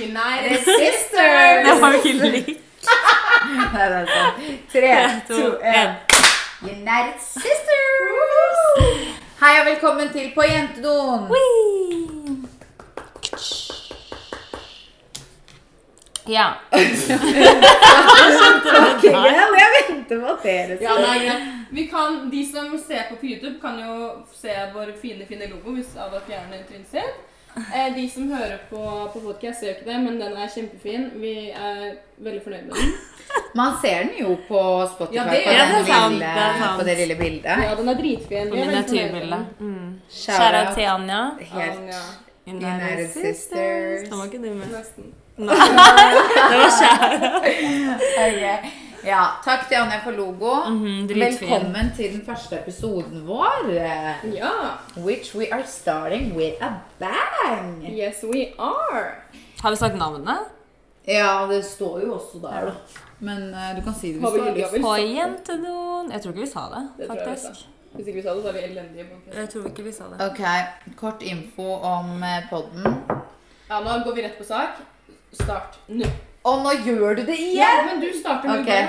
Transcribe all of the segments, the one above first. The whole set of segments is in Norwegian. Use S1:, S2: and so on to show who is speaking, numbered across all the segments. S1: United Sisters!
S2: Det var jo ikke likt.
S1: Nei, det er sant. Tre, to, en. United Sisters! Hei og velkommen til På jentedoen.
S2: Ja.
S1: Ok, Vel, jeg venter på dere.
S3: Ja, nei, greit. Vi kan, de som ser på på YouTube, kan jo se vår fine, fine logo hvis av dere gjerne er interessert. Eh, de som hører på, på podcast, ser jo ikke det, men den er kjempefin. Vi er veldig fornøyd med den.
S1: Man ser den jo på Spotify
S3: Ja, det er-
S1: på,
S2: ja, det er
S1: den
S2: sant,
S1: lille,
S2: det er sant.
S1: på det lille bildet.
S3: Ja, den er dritfin. Vi er veldig fornøyd med
S2: Miniatyrbilde.
S3: den.
S2: Mm.
S1: Shout
S2: Kjære
S1: out.
S2: til Anja.
S1: Helt
S3: Anja.
S1: United Sisters.
S2: Den var ikke du med.
S3: Nesten.
S2: Nei. Det var kjære.
S1: Ok. Ja, takk til Anja for logo.
S2: Mhm, dritfin.
S1: Velkommen til den første episoden vår. eh,
S3: Ja.
S1: Which we are starting with a bang!
S3: Yes, we are.
S2: Har vi sagt navnet?
S1: Ja, det står jo også der, da. Men eh, du kan si det
S3: Hva
S1: hvis du
S3: vil
S1: har
S3: du ha?
S1: lyst.
S2: På jentedoen. Jeg tror ikke vi sa det,
S3: Det tror jeg vi
S2: faktisk.
S3: Hvis ikke vi sa det, så er vi elendige. på podcast.
S2: Jeg tror ikke vi sa det.
S1: Ok, kort info om eh, podden.
S3: Ja, nå går vi rett på sak. Start nå.
S1: Og nå gjør du det
S3: Ja,
S1: igjen!
S3: men du starter nå.
S1: Ok.
S3: bare.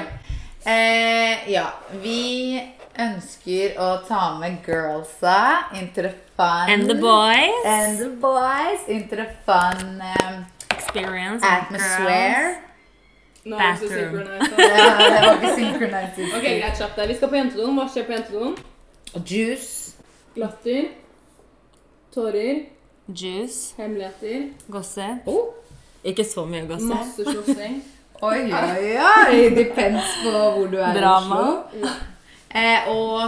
S1: Eh, ja, vi ønsker å ta med girlsa into the fun.
S2: And the boys.
S1: And the boys into the fun um,
S2: Experience. with girls.
S1: atmosphere.
S3: Nå er vi så
S2: Bathroom.
S3: synkronisert.
S1: Ja, det var ikke synkronisert.
S3: Ok, greit, kjapt der. Vi skal på jentedoen. Hva skjer på jentedoen?
S1: Juice.
S3: Latter. Tårer.
S2: Juice.
S3: Hemmeligheter.
S2: Gossip.
S1: Oh.
S2: Ikke så mye gossip.
S3: Masse slåssing.
S1: Oi, oi, oi! Depends på hvor du er
S2: Drama.
S1: i Oslo. Eh, og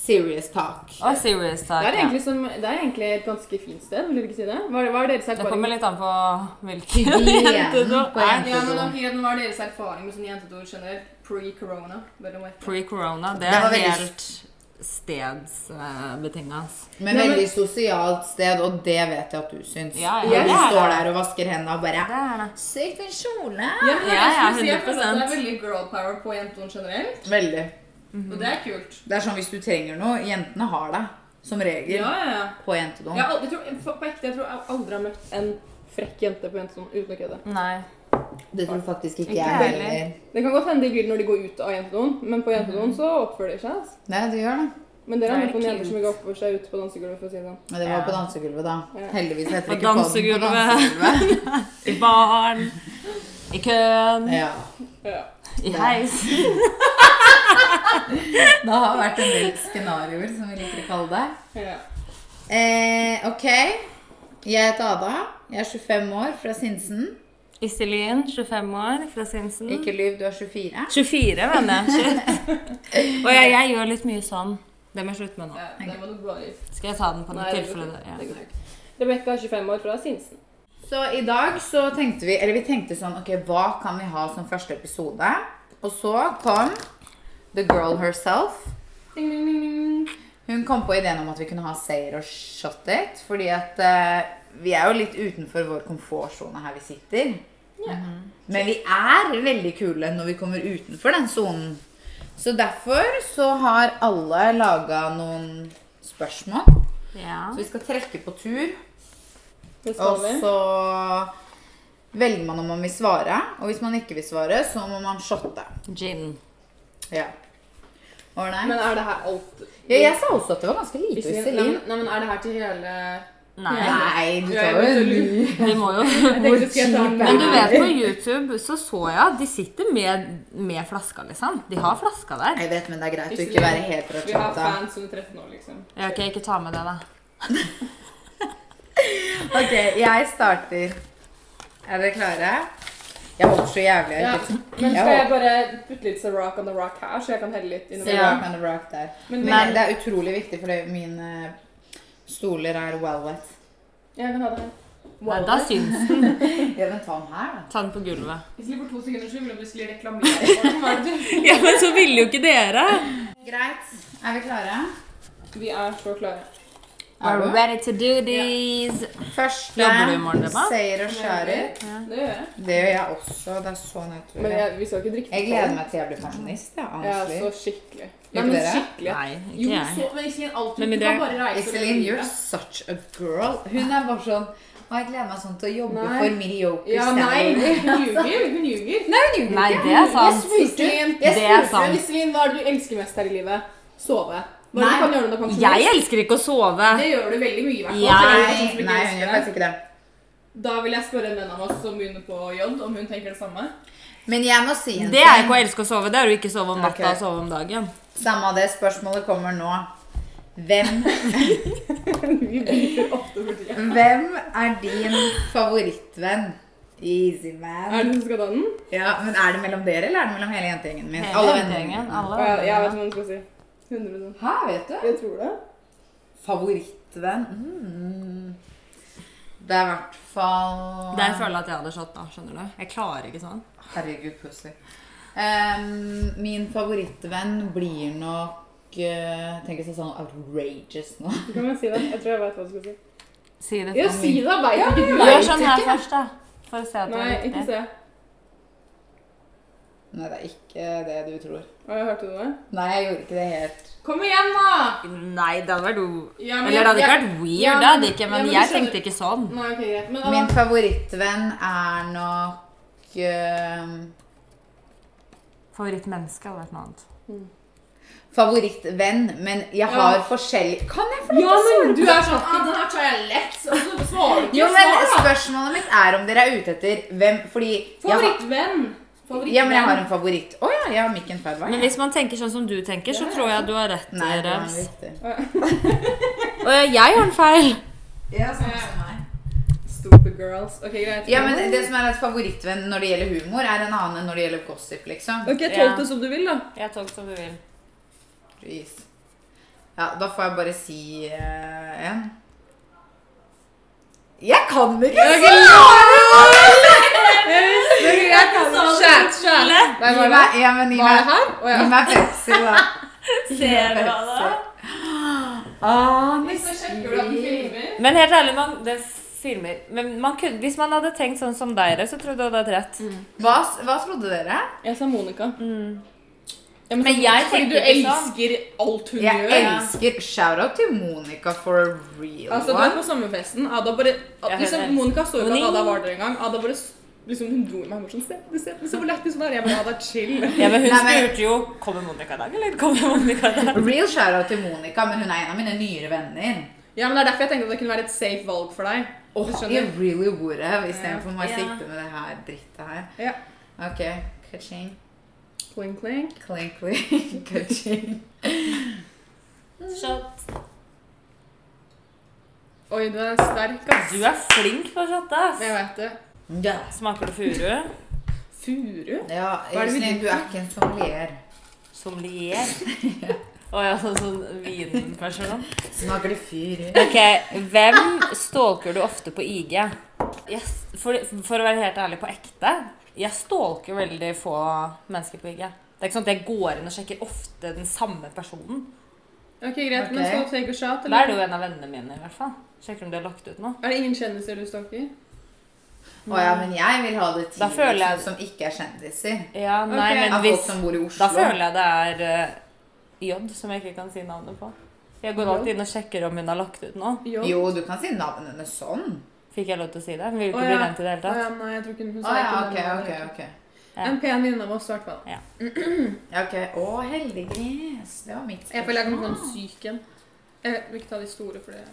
S1: serious talk.
S2: Og serious talk.
S3: Det er,
S2: ja.
S3: egentlig som, det er egentlig et ganske fint sted, vil du ikke si det? Hva, hva er deres
S2: Det kommer
S3: erfaring?
S2: litt an på hvilken
S1: Hygienen
S2: jentedo.
S1: på
S2: er.
S3: Ja, men
S1: jentedoen.
S3: ok, Hva er deres erfaring med sånne jentedoer generelt? Pre-corona? by the way?
S2: Pre-corona. Det
S1: Det
S2: er
S1: var veldig-
S2: helt eh, stedsbetinga.
S3: Nei,
S1: Men
S3: men-
S1: veldig sosialt sted, og det vet jeg at du syns.
S2: Ja,
S1: Når
S2: ja,
S3: det
S1: du
S2: er det.
S1: står der og vasker hendene og bare
S2: Det er det.
S1: Sykt en kjole!
S3: Ja, men det er det
S2: Ja,
S3: jeg
S2: ja,
S3: skulle si. Jeg føler at det er
S2: 100%.
S3: veldig girl power på jentedoen generelt,
S1: Veldig.
S3: og det er kult.
S1: Det er sånn hvis du trenger noe. Jentene har det, som regel,
S3: Ja, ja, ja.
S1: på jentedoen.
S3: Jeg, har aldri- jeg tror, på ekte, jeg tror jeg aldri har møtt en frekk jente på jentedoen uten å kødde.
S2: Nei.
S1: Det tror faktisk ikke,
S2: Ikke
S1: jeg
S2: jeg heller.
S1: heller.
S3: Det kan godt hende de glir når de går ut av jentedoen, men på jentedoen så oppfører de seg. altså.
S1: Nei, det gjør det.
S3: Men dere
S2: Da
S3: har
S2: er
S3: møtt
S2: det
S3: noen jenter
S2: cute.
S3: som ikke oppfører seg ute på dansegulvet, for å si det sånn.
S1: Men det var
S2: Ja.
S1: på dansegulvet, da.
S3: Ja.
S1: Heldigvis heter
S2: På
S1: det ikke podden
S2: dansegulvet.
S1: på dansegulvet.
S2: I baren. I køen.
S1: ja.
S3: Ja.
S2: I heis.
S1: Det har vært en del scenarioer, som vi liker å kalle det.
S3: ja.
S1: Eh, ok. Jeg heter Ada. Jeg er 25 år, fra Sinsen.
S2: Iselin, 25 år, fra Sinsen.
S1: Ikke lyv, du er 24.
S2: 24, mener jeg. Shit. Og jeg, jeg gjør litt mye sånn. Det må jeg slutte med nå.
S3: ja det var noe bra i.
S2: Skal jeg ta den på noe
S3: Nei, det går
S2: tilfelle?
S3: fint.
S2: Ja.
S3: Det går fint. Rebekka er 25 år fra Sinsen.
S1: Så i dag så tenkte vi Eller vi tenkte sånn Ok, hva kan vi ha som første episode? Og så kom The Girl Herself.
S3: Ding, ding, ding, ding.
S1: Hun kom på ideen om at vi kunne ha seier og shot it. Fordi at eh, vi er jo litt utenfor vår komfortsone her vi sitter. Mhm.
S3: Mm-hmm.
S1: Men vi er veldig kule når vi kommer utenfor den sonen. Så derfor så har alle laga noen spørsmål.
S2: Ja.
S1: Så vi skal trekke på tur,
S3: Det skal
S1: og
S3: vi.
S1: så velger man om man vil svare. Og hvis man ikke vil svare, så må man shotte.
S2: Gin.
S1: Ja. Ålreit.
S3: Men er det her alt
S1: Ja, jeg sa også at det var ganske lite
S3: Iselin,
S1: Iselin.
S3: nei, men- Nei, men er det her til hele
S2: Nei.
S1: Nei, du
S3: Ja, jeg
S1: tar jo
S3: vet
S1: en
S3: det.
S1: ny.
S2: Vi må jo
S3: tenkte jeg skulle ta den.
S2: Men du vet, på YouTube så så jeg at de sitter med, med flaska, liksom. De har flaska der.
S1: Jeg vet, men det er greit å
S3: Iselin,
S1: ikke være helt fra
S3: Vi har
S1: chatta.
S3: fans under 13 år, liksom.
S2: Ja, ok, ikke ta med det, da.
S1: Ok, jeg starter. Er dere klare? Jeg håper så jævlig jeg
S3: Ja.
S1: ikke
S3: Men
S1: Jeg
S3: skal jeg
S1: håper
S3: bare putte litt så rock on the rock her, så jeg kan helle litt
S1: så
S3: innover?
S1: rock and rock der.
S3: Men vi,
S1: Men det er utrolig viktig, fordi mine eh, stoler er velvet.
S3: jeg kan ha det her.
S2: Nei, da syns den.
S1: Jeg vil ta den her, da.
S2: Ta den på gulvet.
S3: Iselin, for to sekunder siden ville du plutselig reklamere for den, hva er det du-
S2: Ja, men så ville jo ikke dere.
S1: Greit. Er vi klare?
S3: Vi er så klare.
S1: Er
S2: We're
S1: du?
S2: ready to do this.
S1: Første
S2: Jobber du i morgen, Ebba?
S1: seier og skjærer.
S3: Det gjør jeg.
S1: Det gjør jeg også. Det er så
S3: Men
S1: naturlig.
S3: jeg, vi skal ikke drikke
S1: Jeg gleder meg til jeg blir pensjonist, jeg.
S3: Ja, så
S1: Honestly.
S3: skikkelig.
S1: Gjør
S3: Nei, men
S1: dere?
S3: skikkelig.
S2: Nei,
S3: Jo,
S2: ikke jeg.
S3: så, men Iselin, alt
S2: Men
S3: du
S2: med
S3: kan
S2: det-
S3: bare reise
S1: Iselin,
S3: livet.
S1: you're such a girl. Hun er bare sånn Og jeg gleder meg sånn til å jobbe
S3: Nei.
S1: for Mediocre
S3: Ja, nei,
S1: Standard.
S3: hun ljuger. Hun ljuger.
S1: Nei, hun gjorde
S2: Nei,
S1: ikke.
S2: det er
S3: Jeg
S2: sant.
S3: spurte jeg
S2: Det er
S3: spurte
S2: sant.
S3: Iselin hva er det du elsker mest her i livet. Sove. Hva er det du
S1: Nei.
S3: kan gjøre når du er pensjonist?
S2: Jeg elsker ikke å sove.
S3: Det gjør du veldig mye, i hvert fall. for det er
S1: Nei,
S2: Jeg-
S3: noen som ikke
S1: nei, hun
S3: elsker
S1: gjør
S3: det.
S1: faktisk ikke det.
S3: Da vil jeg spørre en venn av oss som begynner på J, om hun tenker det samme.
S1: Men jeg må si en
S2: Det er ikke å elske å sove. Det er å ikke sove om natta
S1: Ok.
S2: og sove om dagen.
S1: Samme av det, spørsmålet kommer nå. Hvem,
S3: Vi biter ofte for tida.
S1: hvem er din favorittvenn? Easy man.
S3: Er det hun som skal ta den?
S1: Ja, men Er det mellom dere, eller er det mellom hele jentegjengen min?
S2: Hele
S1: Alle
S2: gjengen,
S1: vennene
S2: alle
S3: Å, ja, jeg vet hva
S2: vennene.
S3: hun skal si. 100
S1: Hæ, vet du?
S3: Jeg tror det.
S1: Favorittvenn? Mm. Det er i hvert fall
S2: Der føler jeg at jeg hadde slått, da. Skjønner du? Jeg klarer ikke sånn.
S1: Herregud, pussy. Ehm, min favorittvenn blir nok eh, Tenk å si sånn outrageous nå.
S3: Du kan vel si det. Jeg tror jeg vet hva hun skal si.
S2: Si det
S3: Ja,
S2: for
S3: si
S2: min.
S3: det, veit ikke du.
S2: Gjør
S1: vet
S2: sånn her
S1: ikke.
S2: først, da. For å se at det
S3: Nei,
S2: er
S3: ikke
S2: riktig.
S3: se.
S1: Nei, det er ikke det du tror.
S3: Å, jeg hørte du det?
S1: Nei, jeg gjorde ikke det helt.
S3: Kom igjen, da!
S2: Nei, det hadde vært o...
S3: Ja, men
S2: Eller det hadde
S3: jeg-
S2: ikke vært weird,
S3: Ja,
S2: det hadde
S3: men-
S2: ikke,
S3: ja,
S2: men
S3: men du
S2: jeg
S3: skjønner-
S2: tenkte ikke sånn.
S3: Nei, ok, greit. Men
S1: Min
S3: da,
S1: favorittvenn er nok ehm,
S2: Favorittmenneske hadde vært noe annet.
S1: Favorittvenn, men jeg har forskjellig Kan jeg få
S3: ja, men du er sånn
S4: Ja, den her tar jeg lett.
S3: Så så svarer du ikke.
S1: Jo, men
S3: Svar, da.
S1: Spørsmålet mitt er om dere er ute etter hvem Fordi jeg har,
S3: Favorittvenn. Favorittvenn.
S1: ja, men jeg har en favoritt. Å ja, jeg har mikken feil vei.
S2: Men hvis man tenker sånn som du tenker, så tror jeg du har rett.
S1: Nei, det var
S2: Rems.
S1: riktig.
S2: Og jeg har en feil.
S1: Ja, samme som meg.
S3: Stupid girls. Ok, greit.
S1: Ja, men det som er at favorittvenn når det gjelder humor, er en annen enn når det gjelder gossip, liksom.
S3: Ok,
S2: Ja.
S3: tolk det som du vil, da.
S2: Jeg tok som du vil.
S1: Jeez. Ja, da får jeg bare si eh, en. Jeg kan ikke
S3: Jeg kan Chat, chat. Nei,
S1: Gi
S3: var det?
S1: meg, ja, men gi
S3: Var det
S1: meg,
S3: her? Å ja.
S1: gi meg Pepsi, da.
S2: Ser du hva da?
S3: Så sjekker du at den filmer.
S2: Men helt ærlig, man, det filmer Men man kunne, hvis man hadde tenkt sånn som deg, Re, så tror jeg du hadde hatt rett.
S1: Hva, hva trodde dere?
S3: Jeg sa Monica. Ja,
S2: Men jeg
S3: fordi
S2: tenker
S3: du
S2: ikke sånn.
S3: elsker alt hun
S1: Jeg
S3: gjør.
S1: elsker shout-out til Monica for a real
S3: Altså, du
S1: one.
S3: er på sommerfesten. Ada bare
S2: Jeg
S3: liksom,
S2: hører.
S3: Monica så ikke at
S2: Monica.
S3: Ada var der engang. Ada bare s- liksom, hun dro i meg bort sånn Se, du ser, du ser hvor lættis hun er. Jeg bare Ada, chill.
S2: Ja, men hun
S1: Nei, men-
S2: spurte jo Kommer Monica i dag, eller? Kommer Monica i dag?
S1: Real shout-out til Monica, men hun er en av mine nyere venner.
S3: Ja, men Det er derfor jeg tenkte at det kunne være et safe valg for deg.
S1: Oh,
S3: Du skjønner.
S1: you really would have, istedenfor meg å
S2: Ja.
S1: sitte med det her drittet her.
S3: Ja.
S1: Ok, ka-ching,
S3: Kling, kling.
S1: kling, kling, ka-ching.
S2: Shot.
S3: Oi, du er sterk, ass.
S2: Du er flink på å shotte,
S3: Jeg
S2: ass.
S3: vet det.
S1: Ja.
S2: Smaker det furu?
S3: Furu?
S1: Ja,
S3: Hva er det vi
S1: Øystein, du er ikke en sommelier.
S2: Sommelier? Å ja, sånn, sånn vinperson?
S1: Smaker det fyr?
S2: Ok, hvem stalker du ofte på IG? Jeg, for, for å være helt ærlig på ekte, jeg stalker veldig få mennesker på IG. Det er ikke sånn at jeg går inn og sjekker ofte den samme personen.
S3: Ok, Greit, men
S1: Ok.
S3: skal du take a shot,
S2: Da er
S3: eller?
S2: det jo en av vennene mine, i hvert fall. Sjekker om de har lagt ut noe.
S3: Er det ingen kjendiser du stalker?
S1: Å ja, men jeg vil ha det til
S2: Da føler jeg-
S1: sånn som ikke er kjendiser.
S2: Ja, nei,
S3: Ok.
S2: men
S1: Av folk
S2: hvis
S1: som bor i Oslo.
S2: Da føler jeg det er eh, J, som jeg ikke kan si navnet på. Jeg går alltid inn og sjekker om hun har lagt ut noe.
S3: Jo.
S1: Jo, du kan si navnet hennes sånn.
S2: Fikk jeg lov til å si det? Hun vil
S3: Å,
S2: ikke
S3: ja.
S2: bli nevnt i det
S3: Å
S2: hele tatt.
S3: ja, nei, jeg tror ikke hun
S1: Å ja,
S3: ikke
S1: ok,
S3: den navnet.
S1: ok. ok.
S2: Ja.
S3: En pen venninne av oss, i hvert fall.
S1: Ja, ok. Å, heldiggris. Det var mitt
S3: Jeg føler jeg kommer til å få en syk en. Jeg vil ikke ta de store for det.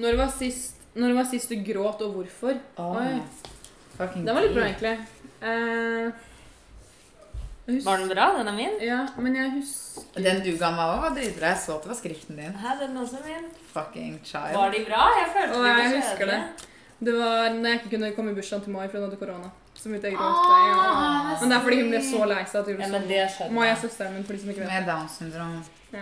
S3: Når var sist, når var sist du gråt, og hvorfor? Oi.
S1: Fucking
S3: Den var litt bra,
S1: gris.
S3: egentlig. Eh, jeg hus-
S2: Var den bra? Den er min?
S3: Ja, men jeg husker
S1: Den du ga meg òg, var dritbra. Jeg så at det var skriften din.
S2: Hæ, den er også min.
S1: Fucking child.
S2: Var de bra? Jeg følte
S3: Å,
S2: de
S3: jeg
S2: var
S3: husker
S2: kjedelige.
S3: Det var når jeg ikke kunne komme i bursdagen til Mai fordi hun hadde korona. Så begynte jeg å gråte. Ja.
S1: Ah,
S3: Men det er fordi hun ble så lei seg at hun
S2: Ja,
S3: gjorde
S2: men det skjønner
S3: sånn. Mai er
S2: jeg.
S3: søsteren min, for de som ikke vet.
S1: Med Downs syndrom.
S3: Ja.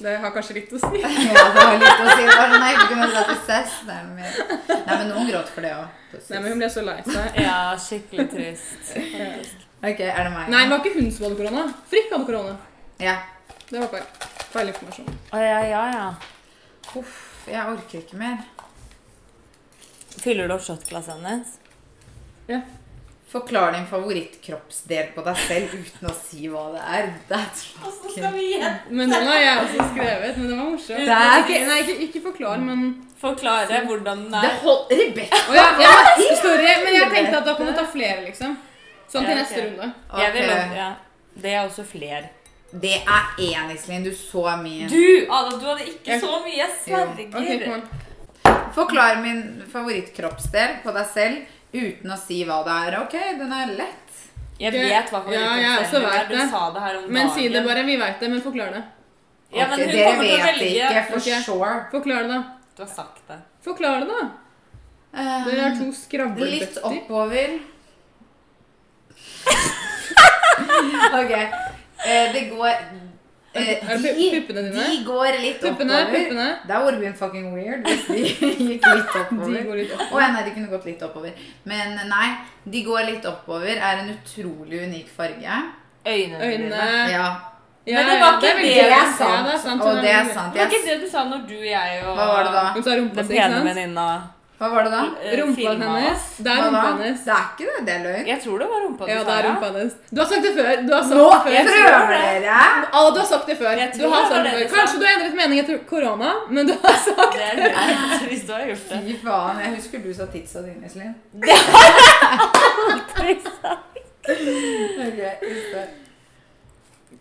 S3: Det har kanskje litt å si.
S1: Ja, det var litt å si. Det var sånn jeg ikke kunne sagt til Cess. Nei, men- Nei, men noen gråt for det
S3: Nei, men
S1: òg.
S3: hun ble så lei seg.
S2: Ja, skikkelig trist. faktisk.
S1: Ok, er det meg?
S3: Nei, det var ikke hun som hadde korona. Frikk hadde korona.
S1: Ja.
S3: Det var feil. Feil informasjon.
S2: Å ja, ja, ja.
S1: Uff, jeg orker ikke mer.
S2: Fyller du opp shotglasset hennes?
S3: Ja.
S1: Forklar din favorittkroppsdel på deg selv uten å si hva det er. That's
S2: Og så skal vi igjen
S3: Men den har jeg også skrevet, men den var morsom.
S1: Det er
S3: Ikke, nei, ikke, ikke forklar, men
S2: forklare hvordan den
S1: Det
S2: er.
S1: hold... Rebekka!
S3: Å ja, ja, Sorry, men jeg tenkte at da kan du ta flere, liksom. Sånn til
S2: Ja,
S3: neste
S2: ok.
S3: runde.
S2: Jeg vil,
S1: Ok.
S2: ja. Det er også flere.
S1: Det er én, Iselin. Du så min.
S2: Du, Ada, du hadde ikke
S3: Jeg-
S2: så mye. Jeg
S3: Ok, kom
S2: sverger.
S3: an.
S1: Forklar min favorittkroppsdel på deg selv uten å si hva det er. Ok, den er lett.
S2: Jeg
S3: Ok.
S2: vet hva
S3: Ja, jeg
S2: favorittkroppsdelen
S3: også
S2: er.
S3: vet
S2: Du
S3: det.
S2: sa det her om
S3: Men si det
S2: dagen.
S3: bare. Vi veit det, men forklar det.
S2: Ja, men
S1: Ok,
S2: hun
S1: Dere
S2: kommer til å
S1: vet det
S2: velge.
S1: ikke, for
S3: Ok.
S1: sure.
S3: Forklar det, da.
S2: Du har sagt det.
S3: Forklar det, da. Dere har to
S1: Um, Litt
S3: skravlebøtter.
S1: oppover. ok. Eh, det går eh,
S3: Er det
S1: de,
S3: puppene dine?
S1: de går litt
S3: Puppene,
S1: oppover.
S3: puppene.
S1: Det would been fucking weird hvis de gikk litt
S3: De
S1: oppover.
S3: går litt opp.
S1: Å ja, nei, de kunne gått litt oppover. Men nei, de går litt oppover. Er en utrolig unik farge.
S2: Øynene,
S3: Øynene
S2: dine.
S1: Ja.
S3: Ja,
S2: Men det var
S3: ja,
S2: ikke
S3: veldig-
S2: det jeg
S3: ja,
S1: sa.
S3: det er sant.
S1: Og det er sant.
S2: Det var ikke
S1: Jeg,
S2: det du sa når du, jeg og
S1: hva var det da?
S3: Hun sa rumpa
S2: den
S3: si,
S2: pene
S3: ikke sant?
S2: venninna
S1: Hva var det da?
S2: eh,
S3: Rumpa
S2: filma
S3: hennes.
S2: oss?
S3: Det er
S1: Hva da?
S3: rumpa hennes.
S1: Det er ikke det. Det er løgn.
S2: Jeg tror det var rumpa du
S3: Ja,
S2: sa.
S3: det er
S2: ja.
S3: rumpa hennes. Du har sagt det før. Du har sagt
S1: Nå
S3: det før.
S1: prøver dere!
S3: Alle, du har sagt det før.
S2: Jeg
S3: Du
S2: tror
S3: har
S2: det var
S3: sagt det
S2: det
S3: før.
S2: du sa.
S3: Kanskje du har endret mening etter korona, men du har sagt
S2: Det er lurt, hvis du har gjort det.
S1: Fy faen. Jeg husker du sa titsa dine, Iselin. Ok, just det.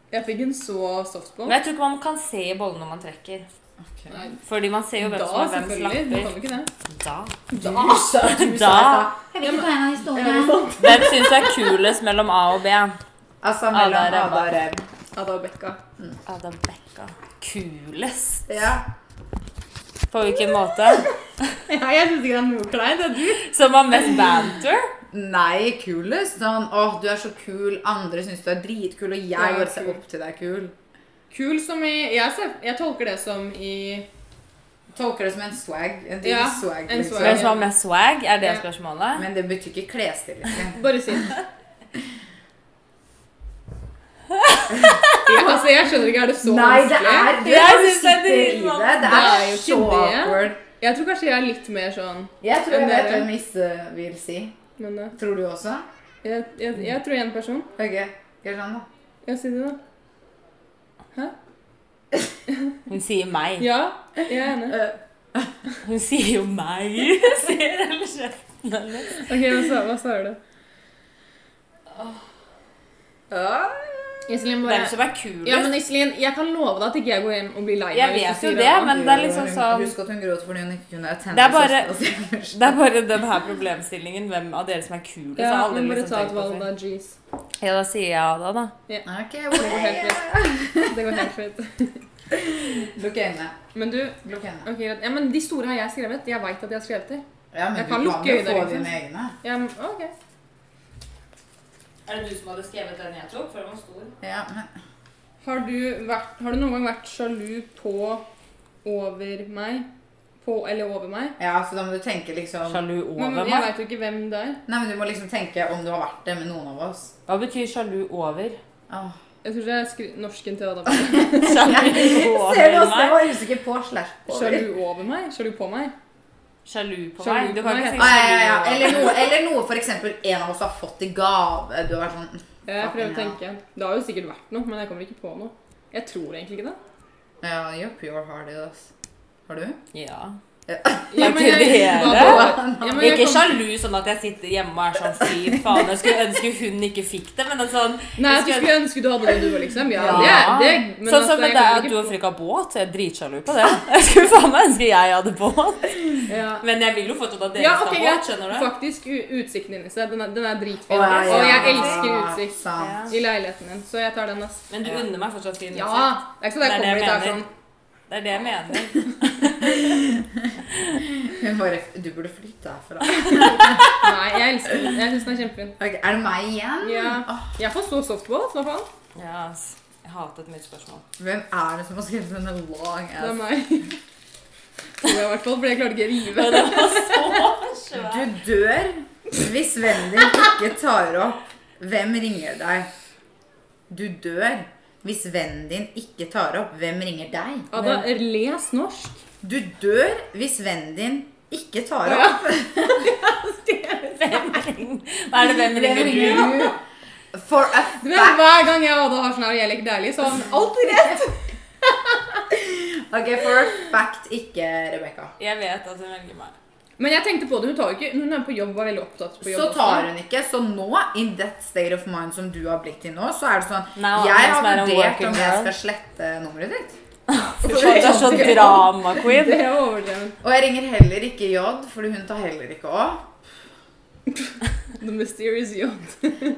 S3: Jeg fikk en så softball.
S2: Men jeg tror ikke man kan se i bollen når man trekker.
S1: Ok.
S3: Nei,
S2: Fordi man ser jo hvem
S3: da,
S2: som er hvem
S3: selvfølgelig. Du kan
S2: slapper.
S3: jo ikke det.
S2: Da.
S1: Da.
S2: Da.
S1: Jeg vil ikke ta en av
S3: Ja,
S1: historiene.
S3: men-
S2: Hvem syns er kulest mellom A og B?
S1: Altså
S2: Ada
S1: mellom Ada og
S2: og Rebba.
S1: Reb.
S3: Ada og Bekka.
S2: Ada Bekka. Kulest?
S1: Ja.
S2: På hvilken måte?
S3: Ja, jeg syns ikke det er noe kleint. Det er du.
S2: Som har mest banter?
S1: Nei, kulest. Sånn åh, du er så kul, andre syns du er dritkul, og jeg
S3: Ja,
S1: bare ser
S3: kul.
S1: opp til deg kul.
S3: Kul som i Jeg, ser, jeg tolker det som i
S1: Tolker det som en swag. En dyr
S3: Ja,
S1: swag.
S3: en
S1: liksom.
S3: swag.
S2: Hvem som har mest swag? Er det
S3: Ja.
S2: spørsmålet?
S1: Men det betyr ikke klesstil. Liksom.
S3: Bare si det. Ja, altså, jeg skjønner ikke. Er det så
S1: Nei, det
S3: vanskelig?
S1: er du
S2: Jeg
S1: du
S2: synes det er
S1: sitter i
S2: dritvanskelig.
S1: det. Det
S3: Det
S1: er
S3: er jo
S1: så
S3: ikke det.
S1: awkward.
S3: Jeg tror kanskje jeg er litt mer sånn
S1: Jeg tror jeg
S3: Men det
S1: vet
S3: er-
S1: hva Misse vil si.
S3: Men eh,
S1: Tror du også?
S3: jeg, jeg, jeg tror jeg er en person.
S1: Ok, gjør sånn, da.
S3: Ja, si det, da.
S2: Hun sier meg.
S3: Ja, jeg er enig.
S1: Eh,
S2: Hun sier jo meg! Sier eller kjeften hennes.
S3: Ok, Hva sa- hva sa du? Iselin,
S2: Hvem
S3: bare
S2: som er kulest?
S3: Ja, men Iselin, jeg kan love deg at ikke jeg går hjem og blir lei
S2: Jeg
S3: meg. hvis du
S2: vet jo
S3: sier
S2: det,
S3: annet.
S2: men det er liksom sånn
S1: Husk at hun gråt fordi hun ikke kunne tenne
S2: Det er bare-
S1: søstera si.
S2: Det er bare den her problemstillingen. Hvem av dere som er kulest?
S3: Ja,
S2: har aldri
S3: men bare
S2: liksom
S3: ta et
S2: tenkt på
S3: valg, da.
S2: før.
S3: Jeez.
S2: Ja, da sier jeg Ada, da.
S1: Ok,
S3: Det går helt fint. Det går helt fint.
S1: Lukk øynene.
S3: Men du
S1: Lukk øynene.
S3: ok, greit. ja, men De store har jeg skrevet. Jeg veit at jeg har skrevet dem.
S1: Ja, men
S3: Jeg
S1: du
S3: kan
S1: kan
S3: lukke
S1: jo
S3: øynene,
S1: få
S3: liksom.
S1: dine egne.
S3: Ja, men- ok.
S2: Er det du som hadde skrevet den jeg tok? For den var stor.
S1: Ja, men
S3: Har du, vært, har du noen gang vært sjalu på over meg? På eller over meg?
S1: Ja, så da må du tenke liksom Nei,
S2: Sjalu over
S3: Men, men jeg
S2: meg?
S3: veit jo ikke hvem det er.
S1: men du må liksom tenke om du har vært det med noen av oss.
S2: Hva betyr sjalu over?
S1: Åh.
S3: Jeg tror det er skri norsken til Adam.
S2: Sjalu
S1: Ser du
S2: over
S1: også? Jeg
S2: meg?
S1: var usikker på slash over.
S3: Sjalu over meg? Sjalu på meg?
S2: Sjalu på
S3: Sjalu
S2: meg? Du
S3: på
S2: kan
S3: meg.
S2: ikke si
S1: Ah, ja, ja, ja.
S2: sjalu over
S1: Eller noe, eller noe for eksempel en av oss har fått i gave. Du har vært sånn
S3: Jeg prøver å
S1: Fucking
S3: tenke. Det har jo sikkert vært noe, men jeg kommer ikke på noe. Jeg tror egentlig ikke det.
S1: Ja, you're pure hearted, ass. Har du?
S2: Ja.
S3: Ja, men jeg-
S2: Gratulerer.
S3: Hva da? Ja, men jeg
S2: Ikke
S3: kom-
S2: sjalu sånn at jeg sitter hjemme og er sånn fy faen, jeg skulle ønske hun ikke fikk det, men det er sånn
S3: Nei, at
S2: jeg
S3: du skulle ønske du hadde det du var, liksom. Ja,
S1: Ja.
S3: det er det.
S2: sånn som
S3: altså, jeg
S2: med deg
S3: kommer
S2: at
S3: ikke
S2: du har
S3: på-
S2: frikka båt. Jeg er dritsjalu på det. Jeg skulle faen meg ønske jeg hadde båt.
S3: Ja.
S2: Men jeg vil jo fortsatt at dere
S3: Ja, ok,
S2: skal ha
S3: greit.
S2: båt, skjønner du?
S3: Faktisk, u- utsikten din, Isse, den er, den er dritfin.
S1: Å, ja,
S3: Og jeg
S1: ja,
S3: elsker utsikt
S1: Sant.
S3: i leiligheten din, så jeg tar den, ass.
S2: Men du
S1: Ja.
S2: unner meg fortsatt fin
S3: Ja!
S2: musikk.
S3: Det er ikke sånn at jeg
S2: Det er
S3: kommer
S2: det
S3: dit og er
S2: jeg
S3: sånn
S2: Det er det jeg mener.
S1: Hun bare Du burde flytte herfra.
S3: Nei, jeg elsker den. Jeg syns den er kjempefin.
S1: Ok, er det meg igjen?
S3: Ja.
S1: Åh,
S3: Jeg får så softball, hva faen?
S2: Ja, ass. Jeg hatet mitt spørsmål.
S1: hvem er det som har skrevet denne long
S3: Det er
S1: ass?
S3: meg. Tror jeg i hvert fall, for jeg klarte ikke å rive.
S2: Det var så svært.
S1: Du dør hvis vennen din ikke tar opp. Hvem ringer deg? Du dør hvis vennen din ikke tar opp. Hvem ringer deg?
S3: Ada, les norsk.
S1: Du dør hvis vennen din ikke tar opp.
S3: Hvem
S2: Hva er det hvem ringer du?
S1: ringer du? For a
S3: Du vet, Hver gang jeg og Oda har sånn her, og jeg leker deilig, så har han alltid rett.
S1: Ok, for a fact ikke Rebekka.
S2: Jeg vet at hun velger meg.
S3: Men jeg tenkte på det, hun tar jo ikke Hun er på jobb og var veldig opptatt på jobb.
S1: Så tar hun ikke. Så nå, in that state of mind som du har blitt i nå, så er det sånn
S2: Now
S1: Jeg har
S2: I'm just a
S1: vurdert
S2: working
S1: om jeg
S2: girl.
S1: skal slette nummeret ditt.
S2: Du er så drama queen.
S3: Det er overdrevet.
S1: Og jeg ringer heller ikke J, fordi hun tar heller ikke Å.
S3: The mysterious yacht.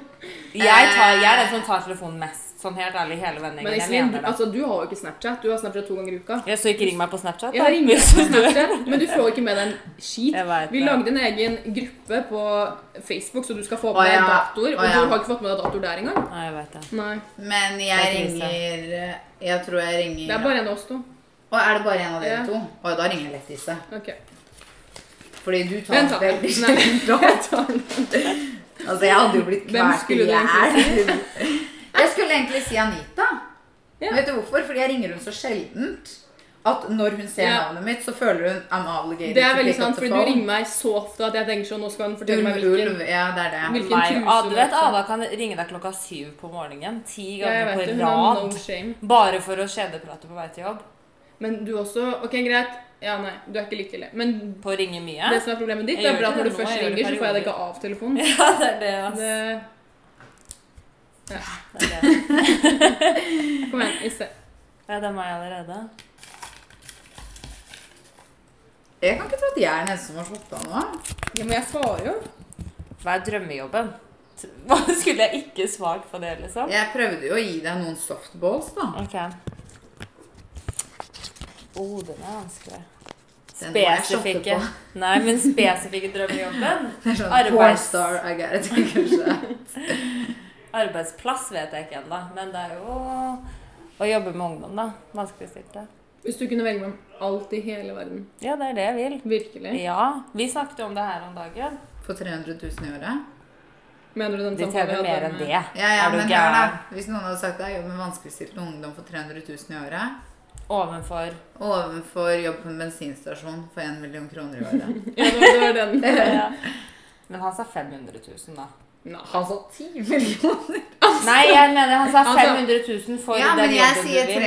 S2: Jeg, tar, jeg er den som tar telefonen mest. Sånn helt ærlig, hele
S3: Men
S2: vennegjengen. Jeg
S3: Iselin, du,
S2: mener det.
S3: altså, du har jo ikke Snapchat. Du har Snapchat to ganger i uka.
S2: Ja, så ikke ring meg på Snapchat. da.
S3: Jeg ringer
S2: Hvis
S3: på
S2: du-
S3: Snapchat, men du får jo ikke med deg en skit.
S2: Jeg vet
S3: Vi
S2: det.
S3: lagde en egen gruppe på Facebook, så du skal få
S1: Å,
S3: med deg
S1: ja.
S3: datoer. Og
S1: Å, ja.
S3: du har ikke fått med deg datoer der engang.
S2: Nei, jeg vet det.
S3: Nei.
S1: Men jeg
S2: Det er krise.
S1: ringer Jeg tror jeg ringer
S3: Det er bare en av oss to.
S1: Å, er det bare en av dere
S3: Ja.
S1: to? Å, da ringer jeg Lettise.
S3: Ok.
S1: Fordi du tar
S3: Vent, da.
S1: veldig
S3: Nei,
S1: sjelden
S3: jeg tar den.
S1: Altså, jeg hadde jo blitt
S3: Hvem
S1: kvært i
S3: skulle du
S1: hjel. Jeg skulle egentlig si Anita.
S3: Ja.
S1: Vet du hvorfor? Fordi jeg ringer hun så sjeldent at når hun ser
S3: Ja.
S1: navnet mitt, så føler hun I'm obligated
S3: Det er
S1: to
S3: veldig
S1: pick up
S3: sant,
S1: the
S3: fordi du
S1: phone.
S3: ringer meg så ofte at jeg tenker sånn Nå skal han fortelle meg
S1: Ulv,
S3: hvilken
S1: ulv, ja, det er det.
S3: Hvilken
S2: Meg.
S3: truse
S2: Ah, du
S3: du
S2: vet,
S3: har.
S2: Ada kan ringe deg klokka syv på morgenen. Ti
S3: Ja, jeg
S2: ganger
S3: vet det.
S2: på
S3: Hun har
S2: rad.
S3: no shame.
S2: Bare for å kjedeprate på vei til jobb.
S3: Men du også Ok, greit. Ja, nei, du er ikke like ille. Men
S2: På å ringe mye.
S3: det som er problemet ditt,
S2: Jeg
S3: det er
S2: gjør
S3: bra at
S2: ikke
S3: når
S2: det
S3: du
S2: nå,
S3: først
S2: jeg gjør det
S3: ringer, så får jeg deg
S2: perioder.
S3: ikke av telefonen.
S2: Ja, det er det, ass.
S3: Det,
S2: Det er det.
S3: kom igjen, Isse.
S2: Ja, det er meg allerede.
S1: Jeg kan ikke tro at jeg er den eneste som har slått av nå.
S3: Ja, men jeg svarer jo.
S2: Hva er drømmejobben? Hva skulle jeg ikke svart på det, liksom?
S1: Jeg prøvde jo å gi deg noen softballs, da.
S2: Ok. oh, den er vanskelig.
S1: Den må jeg shoppe
S2: Spesifikke.
S1: på.
S2: Nei, men spesifikke drømmejobben.
S1: Det er sånn
S2: Arbeids-
S1: Pornstar I got it, kanskje.
S2: Arbeidsplass vet jeg ikke ennå, men det er jo å jobbe med ungdom, da. Vanskeligstilte.
S3: Hvis du kunne velge mellom alt i hele verden.
S2: Ja, det er det jeg vil.
S3: Virkelig.
S2: Ja. Vi snakket jo om det her om dagen.
S1: For 300 000 i året.
S3: Mener du den
S2: De
S3: samtalen vi
S2: tjener
S3: hadde
S2: mer enn
S3: med-
S2: det.
S1: Ja, ja,
S2: er du
S1: men hør da.
S2: gæren?
S1: Hvis noen hadde sagt at jeg jobber med vanskeligstilt ungdom for 300 000 i året,
S2: Ovenfor
S1: overfor jobb på en bensinstasjon for 1 million kroner i året
S3: Ja, det var, det var den.
S2: ja. Men han sa 500 000, da.
S3: Nei.
S1: Han sa 10 millioner.
S2: Nei, jeg mener han sa
S3: Han sa-
S2: 500 000 for
S1: Ja, men
S2: den
S1: jeg
S2: jobben du
S1: sier
S2: vil.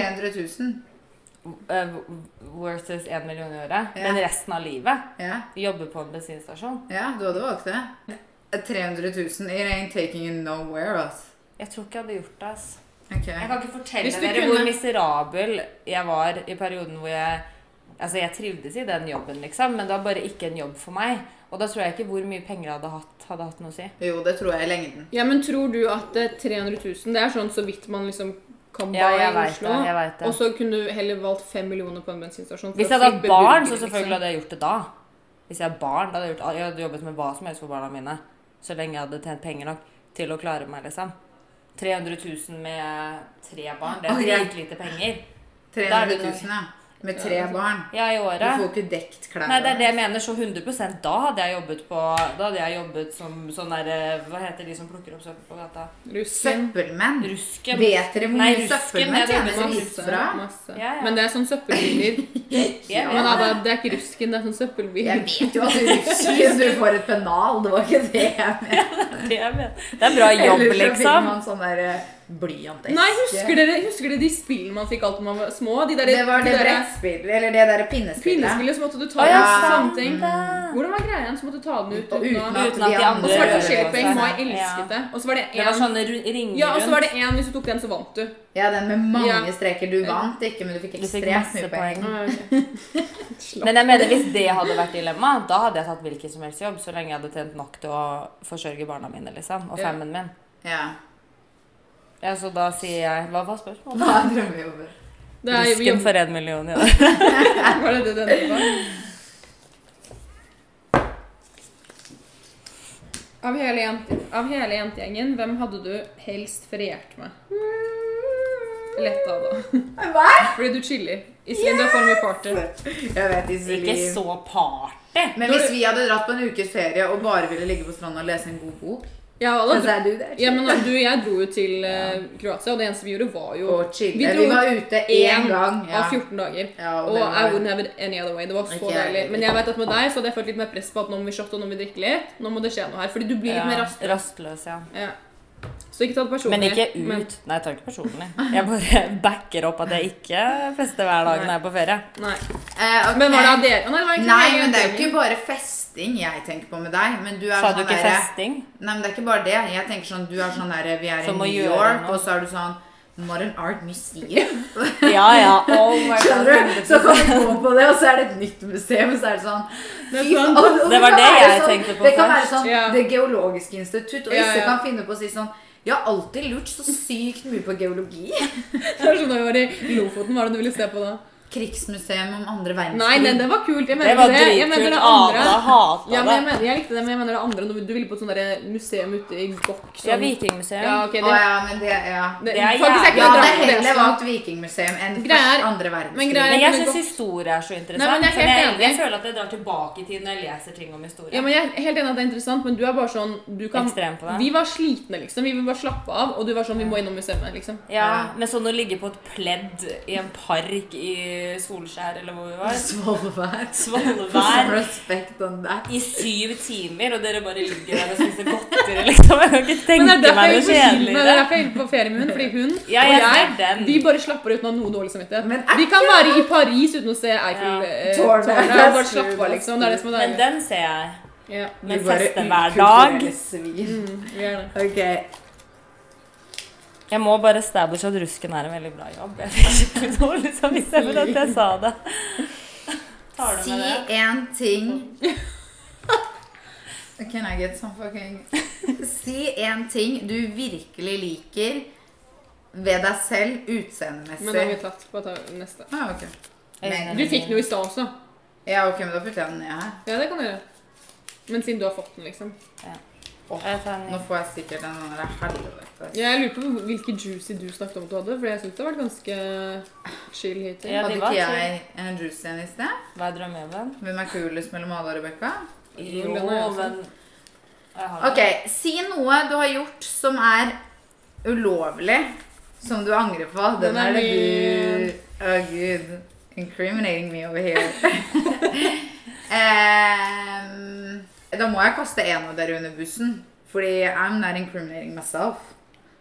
S1: 300 000.
S2: Eh, versus 1 million i året.
S1: Ja.
S2: Men resten av livet
S1: Ja,
S2: jobber på en bensinstasjon.
S1: ja du hadde valgt det. 300 000 it ain't taking you nowhere, ass.
S2: Jeg tror ikke jeg hadde gjort det. ass.
S1: Ok.
S2: Jeg kan ikke fortelle
S3: Hvis du
S2: dere
S3: kunne-
S2: hvor miserabel jeg var i perioden hvor jeg Altså, jeg trivdes i den jobben, liksom, men det var bare ikke en jobb for meg. Og da tror jeg ikke hvor mye penger jeg hadde hatt, hadde hatt noe å si.
S1: Jo, det tror jeg i lengden.
S3: Ja, men tror du at eh, 300 000, det er sånn så vidt man liksom kan
S2: Ja,
S3: bare
S2: jeg
S3: i
S2: vet
S3: Oslo?
S2: det, jeg vet det.
S3: Og så kunne du heller valgt 5 millioner på en bensinstasjon. for å
S2: Hvis jeg hadde hatt
S3: flippe
S2: barn,
S3: burger,
S2: så selvfølgelig
S3: liksom.
S2: hadde jeg gjort det da. Hvis jeg hadde barn, da hadde jeg, gjort, jeg hadde jobbet med hva som helst for barna mine. Så lenge jeg hadde tjent penger nok til å klare meg, liksom. 300 000 med tre barn, det
S1: Ok.
S2: er dritlite penger. Da er
S1: 300
S2: det noe-
S1: 000, ja. Med tre barn.
S2: Ja, i
S1: Du får
S2: året.
S1: ikke dekt klær.
S2: Nei, det er det jeg mener. Så 100 da hadde jeg jobbet på Da hadde jeg jobbet som sånn derre Hva heter de som plukker opp søppel på gata?
S3: Russen.
S1: Søppelmenn.
S2: Rusken.
S1: Vet dere hvor
S2: Nei,
S1: mye
S2: rusken,
S1: søppelmenn
S2: det er det
S1: tjener i
S3: Masse.
S1: Isfra?
S3: masse.
S2: Ja, ja.
S3: Men det er sånn søppelbiler.
S2: Jeg
S3: Men
S2: vet
S3: Ada,
S2: det.
S3: det er ikke rusken, det er sånn søppelbil.
S1: Jeg vet jo at du rusker, du får et pennal. Det var ikke det jeg mente.
S2: Det er bra- det er bra jobb,
S1: Ellers så fikk
S2: liksom.
S1: man sånn der eh, blyanteske.
S3: Nei, husker dere, husker dere de spillene man fikk alt da man var små? De der,
S1: Det var
S3: de
S1: det
S3: der
S1: brettspillet, eller det derre pinnespillet.
S3: pinnespillet som måtte du ta
S2: Å ja,
S3: ut
S2: sant
S3: sånne ting.
S2: det.
S3: Hvordan var greia igjen? Så måtte du ta den ut uten
S1: Og
S3: å
S1: uten
S3: Og
S1: at-
S2: Uten at de andre
S3: så var det liksom.
S2: gjør
S3: forskjellige poeng.
S1: sånn
S3: Mai
S2: også.
S3: elsket det. Og så var det
S2: Ja. Det var sånn
S3: én
S2: sånne ru- ringer
S3: Ja, og så var
S2: rundt.
S3: det én hvis du tok den, så vant du.
S1: Ja, den med mange
S3: Ja.
S1: streker. Du vant ikke, men du fikk
S2: Du fikk
S1: ekstremt
S2: masse
S1: mye poeng.
S2: poeng.
S3: Ah,
S2: Men jeg mener, hvis det hadde vært dilemmaet, da hadde jeg tatt hvilken som helst jobb, så lenge jeg hadde tjent nok til å forsørge barna mine, liksom. Og
S3: Ja.
S2: fammen min.
S1: Ja.
S2: Ja, så da sier jeg Hva var spørsmålet?
S1: Hva er drømmejobber?
S3: Det er jo
S2: Rusken
S3: jobb...
S2: for én million i år.
S3: Var det det denne var? Av hele, jente, av hele jentegjengen, hvem hadde du helst feriert med? Lett av, da.
S1: Hva?
S3: Fordi du chiller. Iselin, du er for mye parter.
S1: Jeg vet
S2: Ikke
S1: Iselin.
S2: så party.
S1: Men hvis vi hadde dratt på en ukes ferie og bare ville ligge på stranda og lese en god bok
S3: Ja, alle,
S1: As I do that.
S3: ja, men du og jeg dro jo til eh, Kroatia, og det eneste vi gjorde, var jo
S1: Og chille.
S3: Vi
S1: Vi,
S3: dro
S1: var ute én gang.
S3: av 14 dager.
S1: Ja, og
S3: og
S1: det
S3: I
S1: var-
S3: wouldn't have it any other way. Det var så
S1: Ikke jeg
S3: deilig.
S1: heller.
S3: Men jeg vet at med deg så hadde jeg følt litt mer press på at nå må vi shotte og nå må vi drikke litt. Nå må det skje noe her. Fordi du blir litt mer
S2: Ja,
S3: rastløs.
S2: rastløs, ja.
S3: Ja. Så ikke ta det personlig.
S2: Men ikke ut.
S3: men-
S2: Nei, jeg tar det ikke personlig. Jeg bare backer opp at jeg ikke fester hver dag når jeg er på ferie.
S3: nei.
S1: Eh, ok.
S3: Men var det av dere? Nei, det var egentlig
S1: Nei,
S3: meg og
S1: men det er jo
S3: Daniel.
S1: ikke bare festing jeg tenker på med deg. Men du er
S2: Sa
S1: sånn
S2: du ikke
S1: derre-
S2: festing?
S1: Nei, men det er ikke bare det. Jeg tenker sånn, Du er sånn derre Vi er
S2: Som å
S1: i New
S2: gjøre
S1: York,
S2: noe.
S1: og så er du sånn Modern Art Museum.
S2: Ja, ja. Oh my god.
S1: Skjønner du? Så kan vi gå på det, og så er det et nytt museum, og så er det sånn
S3: Det er
S1: fy
S3: sant.
S1: faen, og- og
S2: Det var
S1: kan
S2: det
S1: være
S2: jeg
S1: sånn-
S2: tenkte på
S1: Det kan være
S2: først.
S1: sånn
S3: Ja.
S1: Det geologiske institutt, og
S3: Ja,
S1: Isse
S3: ja.
S1: kan finne på å si sånn Jeg har alltid lurt så sykt mye på geologi.
S3: Det var sånn da vi var i Lofoten, hva er det du ville se på da?
S1: Krigsmuseum om andre verdenskrig.
S3: Nei, nei, det var kult. Jeg
S2: Det
S3: mener
S2: var
S3: det. Jeg mener
S2: dritkult.
S3: det andre.
S2: Ada hata
S3: Ja, men jeg,
S2: det.
S3: mener, jeg likte det, men jeg mener det andre. Du ville på et sånt der eh, museum ute i Gokk.
S2: Ja,
S3: sånn- Ja,
S2: vikingmuseum.
S3: ok, det,
S1: Å ja, men det Ja,
S3: det,
S2: Det er
S3: faktisk er
S2: jævlig.
S3: ikke
S1: ja
S3: noe
S1: det
S3: drama på det
S1: heller
S3: også.
S1: var et vikingmuseum enn
S3: Greier-
S1: først andre
S3: Eh, men
S1: verdenskrig.
S3: greier-
S2: Men jeg
S3: kunne
S2: syns
S3: gått-
S2: historie er så interessant.
S3: Nei, men jeg er
S2: for jeg,
S3: helt
S2: jeg,
S3: enig.
S2: føler at jeg drar tilbake i tid når jeg leser ting om historie.
S3: Ja, men jeg er helt enig at det er interessant, men du er bare sånn du kan,
S2: Ekstrem på det.
S3: Vi var slitne, liksom. Vi ville bare slappe av, og du var sånn Vi må innom museet, liksom.
S2: Ja, men sånn å ligge på et pledd i en park i Solskjær eller hvor vi var
S1: Svolvær. Få sånn
S2: Svolvær
S1: respekt on that.
S2: i syv timer, og dere bare ligger der og spiser godteri, liksom. Jeg kan ikke
S3: Men det
S2: tenke
S3: er derfor
S2: meg
S3: jeg
S2: noe
S3: gikk på skilen, men det er
S2: kjedeligere.
S3: derfor jeg gikk på ferie med hun, fordi hun
S2: Ja,
S3: og
S2: jeg
S3: jeg,
S2: ser den.
S3: vi bare slapper av uten å ha noe dårlig samvittighet.
S1: Men er
S3: vi kan være i Paris uten å se Eiffel
S2: Ja.
S3: eh,
S1: Tårnet.
S3: tårnet, og bare slappe av, liksom. Det er det som er
S2: Men
S3: deilig.
S2: den ser jeg.
S3: Ja,
S1: Vi
S2: Men
S1: bare
S2: feste hver
S1: ukulturelle
S2: dag.
S1: svin.
S3: vi er det.
S1: Ok.
S2: Jeg må bare establish at rusken er en veldig bra jobb. Jeg fikk ikke dårlig samvittighet for at jeg sa det. Tar du
S1: Si
S2: med det?
S1: én ting Can I get some fucking Si én ting du virkelig liker ved deg
S3: Men
S1: selv
S3: da har vi
S1: utseendemessig.
S3: tatt på å ta neste.
S1: Ah, ok. Men-
S3: Du fikk den jo i stad også.
S1: Ja, ok, men da putter jeg den ned her.
S3: Ja, det kan du gjøre. Men siden du har fått den, liksom.
S2: Jeg tar en ny.
S1: Nå får jeg sikkert en sånn der helvete.
S3: Jeg lurer på hvilke juicy du snakket om at du hadde, for jeg syns det har vært ganske chill hittil.
S2: Ja, de
S1: Hadde
S2: var
S1: ikke jeg en juice igjen i sted?
S2: Hva er drømmejobben?
S1: Hvem er kulest mellom Ada og Rebekka?
S2: Jo,
S3: den er jeg også.
S2: men jeg har
S1: Ok, si noe du har gjort som er ulovlig, som du angrer på. Den,
S3: Den er
S1: er det du Å, gud. Incriminating me over here. Em, Ehm, da må jeg kaste en av dere under bussen. Fordi I'm not incriminating myself.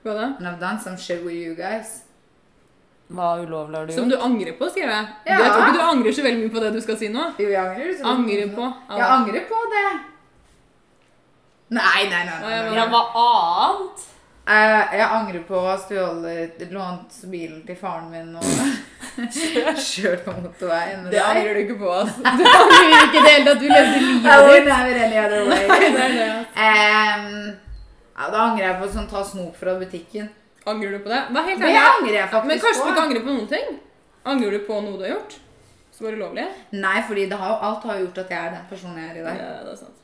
S3: Hva da?
S1: And I've done some shit with you guys.
S2: Hva ulovlig har du
S3: Som
S2: gjort?
S3: du angrer på, skriver jeg.
S1: Ja.
S3: Jeg tror ikke du angrer så veldig mye på det du skal si nå.
S1: Jo, jeg angrer. så-
S3: Angrer på
S1: Jeg angrer på det. Nei, nei, nei. nei, nei.
S3: Å, jeg
S2: Ja, hva annet?
S1: Eh, jeg angrer på å ha stjålet Lånt bilen til faren min og kjørt på motorveien med
S3: Det
S1: deg.
S3: angrer du ikke på, altså. Du angrer ikke i det hele tatt. Du levde
S1: I
S3: livet
S1: would
S3: ditt.
S1: never any other way.
S3: Det er det, altså.
S1: Em, ja, da angrer jeg på sånn ta snop fra butikken.
S3: Angrer du på det? Vær helt
S1: Det
S3: ærlig.
S1: angrer jeg faktisk
S3: Men kanskje du
S1: på.
S3: ikke angrer på noen ting? Angrer du på noe du har gjort? Som var ulovlig?
S1: Nei, fordi det har, jo- alt har jo gjort at jeg er den personen jeg er i
S3: Ja,
S1: dag.
S3: det er sant.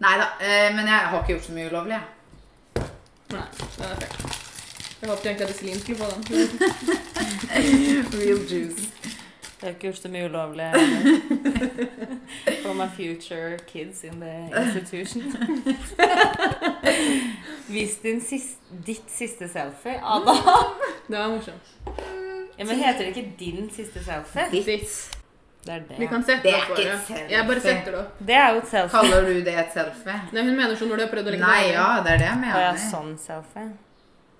S1: Nei da, eh, men jeg har ikke gjort så mye ulovlig, jeg.
S3: Nei, den er frekk. Jeg håpet egentlig at Iselin skulle få den.
S1: Real juice.
S2: Jeg har ikke gjort så mye ulovlig. heller. For my future kids in the institution. Vis din sist, ditt siste selfie, Ada.
S3: Det var morsomt.
S2: Ja, men heter det ikke din siste selfie?
S3: Ditt.
S2: Det er det.
S3: Vi kan sette
S1: Det
S3: det
S1: er
S3: opp
S1: ikke
S3: for
S1: et
S3: det. Jeg bare
S1: selfie.
S3: setter det opp.
S2: Det er jo et selfie.
S1: Kaller du det et selfie?
S3: Nei, hun mener sånn når du har prøvd å legge
S1: Nei,
S3: deg ned.
S1: ja, det er det jeg
S2: Å ja,
S1: mener.
S2: sånn selfie.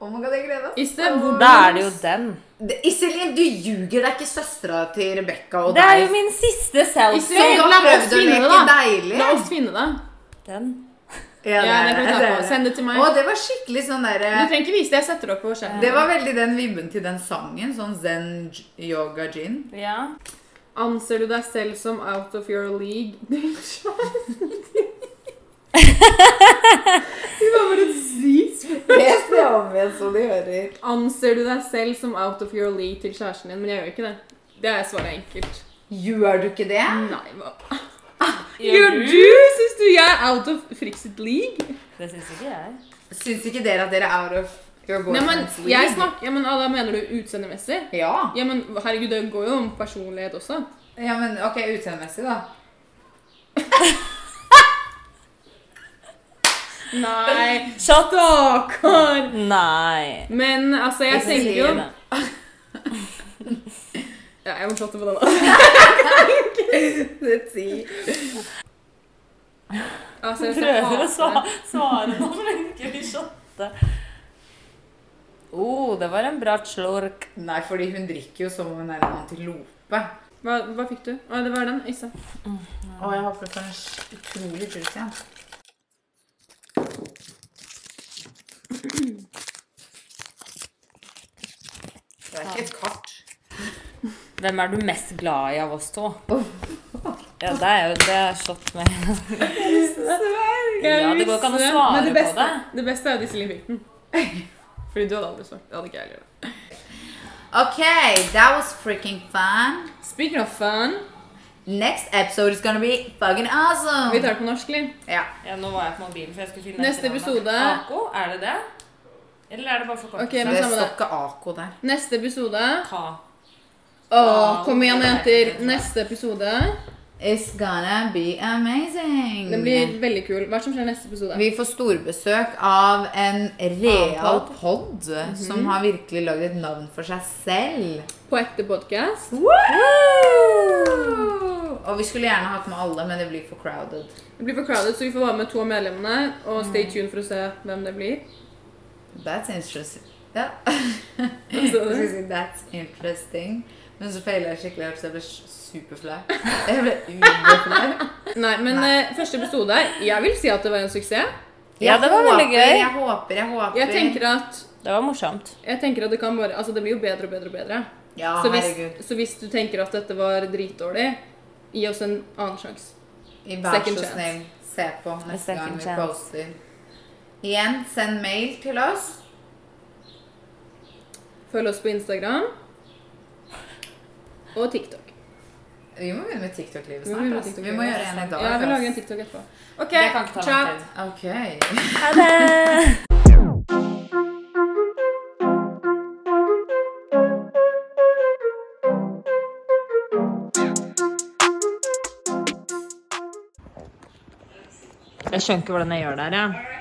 S1: Oh my god, jeg gleder meg.
S3: Isse,
S1: så
S3: hvordan-
S2: Da er det jo den.
S1: Det- Iselin, du ljuger. Det er ikke søstera til Rebekka og
S2: Det er jo
S1: deg.
S2: min siste
S1: Så
S2: selfie!
S3: Ikke-
S1: du
S3: La oss
S1: har prøvd
S3: finne
S1: å
S3: det,
S1: leke
S3: da.
S1: deilig.
S3: La oss finne det.
S2: Den.
S1: Ja,
S3: Ja, det kan vi ta på.
S1: det.
S3: Send det til meg.
S1: Å, det var skikkelig sånn
S3: Du
S1: derre
S3: trenger ikke vise det. Jeg setter det opp på skjermen.
S1: Det var veldig den vibben til den sangen. Sånn Zen j- Yoga Gin.
S2: Ja.
S3: Anser du deg selv som out of your league? Fy faen, for et sykt spørsmål.
S1: Les det om igjen, så de hører.
S3: Anser du deg selv som out of your league til kjæresten din? Men jeg gjør ikke det. Det er svaret enkelt.
S1: Gjør du ikke det?
S3: Nei, hva? Gjør du? Syns du jeg er out of frikset league?
S2: Det syns ikke jeg.
S1: Syns ikke dere at dere er out of your
S3: Nei, men
S1: boyfriend's
S3: jeg
S1: league?
S3: snakker, ja, men ah, da mener du utseendemessig?
S1: Ja.
S3: Ja, men herregud, det går jo om personlighet også.
S1: ja, men ok, utseendemessig, da.
S3: Nei.
S2: Shot.
S3: Stakkar!
S2: Nei.
S3: Men altså, jeg
S2: Ikke
S3: tenker jo
S2: si det.
S3: ja, Jeg må prate på den. Altså, jeg
S2: Prøver å svare,
S3: hater-
S2: svare nå, men ikke bli shotte. Oh, det var en bra slurk.
S1: Nei, fordi hun drikker jo som om hun er en antilope.
S3: Hva, hva fikk du? Å, det var den. Issa.
S1: Å, jeg håper du får en utrolig pus igjen. Det er ikke et kart.
S2: Hvem er du mest glad i av oss to? Ja, det er jo det er shot med Ja, det går ikke an å
S3: visste.
S2: svare
S3: Men det
S2: på
S3: beste,
S2: det.
S3: Det beste er jo Disselin fikk den. Fordi du hadde aldri svart. Det hadde ikke jeg heller.
S1: Ok, that was freaking fun.
S3: Speaking of fun
S1: Next episode is gonna be fucking
S3: Vi
S1: awesome.
S3: tar det på norsk, Liv.
S1: Ja.
S2: Ja, nå var jeg på mobilen, for jeg skulle finne
S3: Neste
S2: etternavnet.
S3: episode.
S2: Ako, er det det? Eller er det bare
S3: Ok,
S2: forkortelse?
S3: men
S1: Det
S3: samme
S1: står
S3: det.
S1: ikke Ako der.
S3: Neste episode
S2: Ka.
S3: Åh, kom igjen, jenter. Neste episode.
S1: It's gonna be amazing.
S3: Den blir veldig kul. Hva er det som skjer i neste episode?
S1: Vi får storbesøk av en real
S3: Annen
S1: pod som har virkelig lagd et navn for seg selv.
S3: På ekte podcast.
S2: Uh.
S1: Og vi skulle gjerne hatt med alle, men det blir for crowded.
S3: Det blir for crowded, så vi får være med to av medlemmene. Og stay
S2: Mm.
S3: tuned for å se hvem det blir.
S1: That's interesting. Ja.
S3: Hva sa
S1: Jeg
S3: du?
S1: skulle si that's interesting. Men så feilet jeg skikkelig hardt, så jeg ble superflau. Jeg ble uberflau.
S3: Nei, men eh, første episode Jeg vil si at det var en suksess.
S2: Ja, det var
S1: Jeg
S2: veldig
S1: håper,
S2: gøy.
S1: Jeg håper, jeg håper.
S3: Jeg tenker at,
S2: Det var morsomt.
S3: jeg tenker at det kan bare Altså, det blir jo bedre og bedre og bedre.
S1: Ja,
S3: så,
S1: herregud.
S3: hvis, så hvis du tenker at dette var dritdårlig, gi oss en annen sjanse.
S1: I Vær så
S3: Second chance.
S1: snill, se på neste
S2: Second
S1: gang vi
S2: chance.
S1: poster. Igjen, send mail til oss.
S3: Følg oss på Instagram og TikTok.
S1: Vi må begynne med TikTok-livet
S3: Vi må
S1: snart.
S3: begynne med
S1: altså.
S3: TikTok.
S1: Vi må gjøre en i
S3: Ja,
S1: dag.
S3: vi
S1: altså.
S3: lager en TikTok etterpå. OK,
S2: Det kan ikke ta
S3: ciao.
S2: lang tid.
S1: Ok.
S2: Ha det! Jeg skjønner ikke hvordan jeg gjør det her, jeg.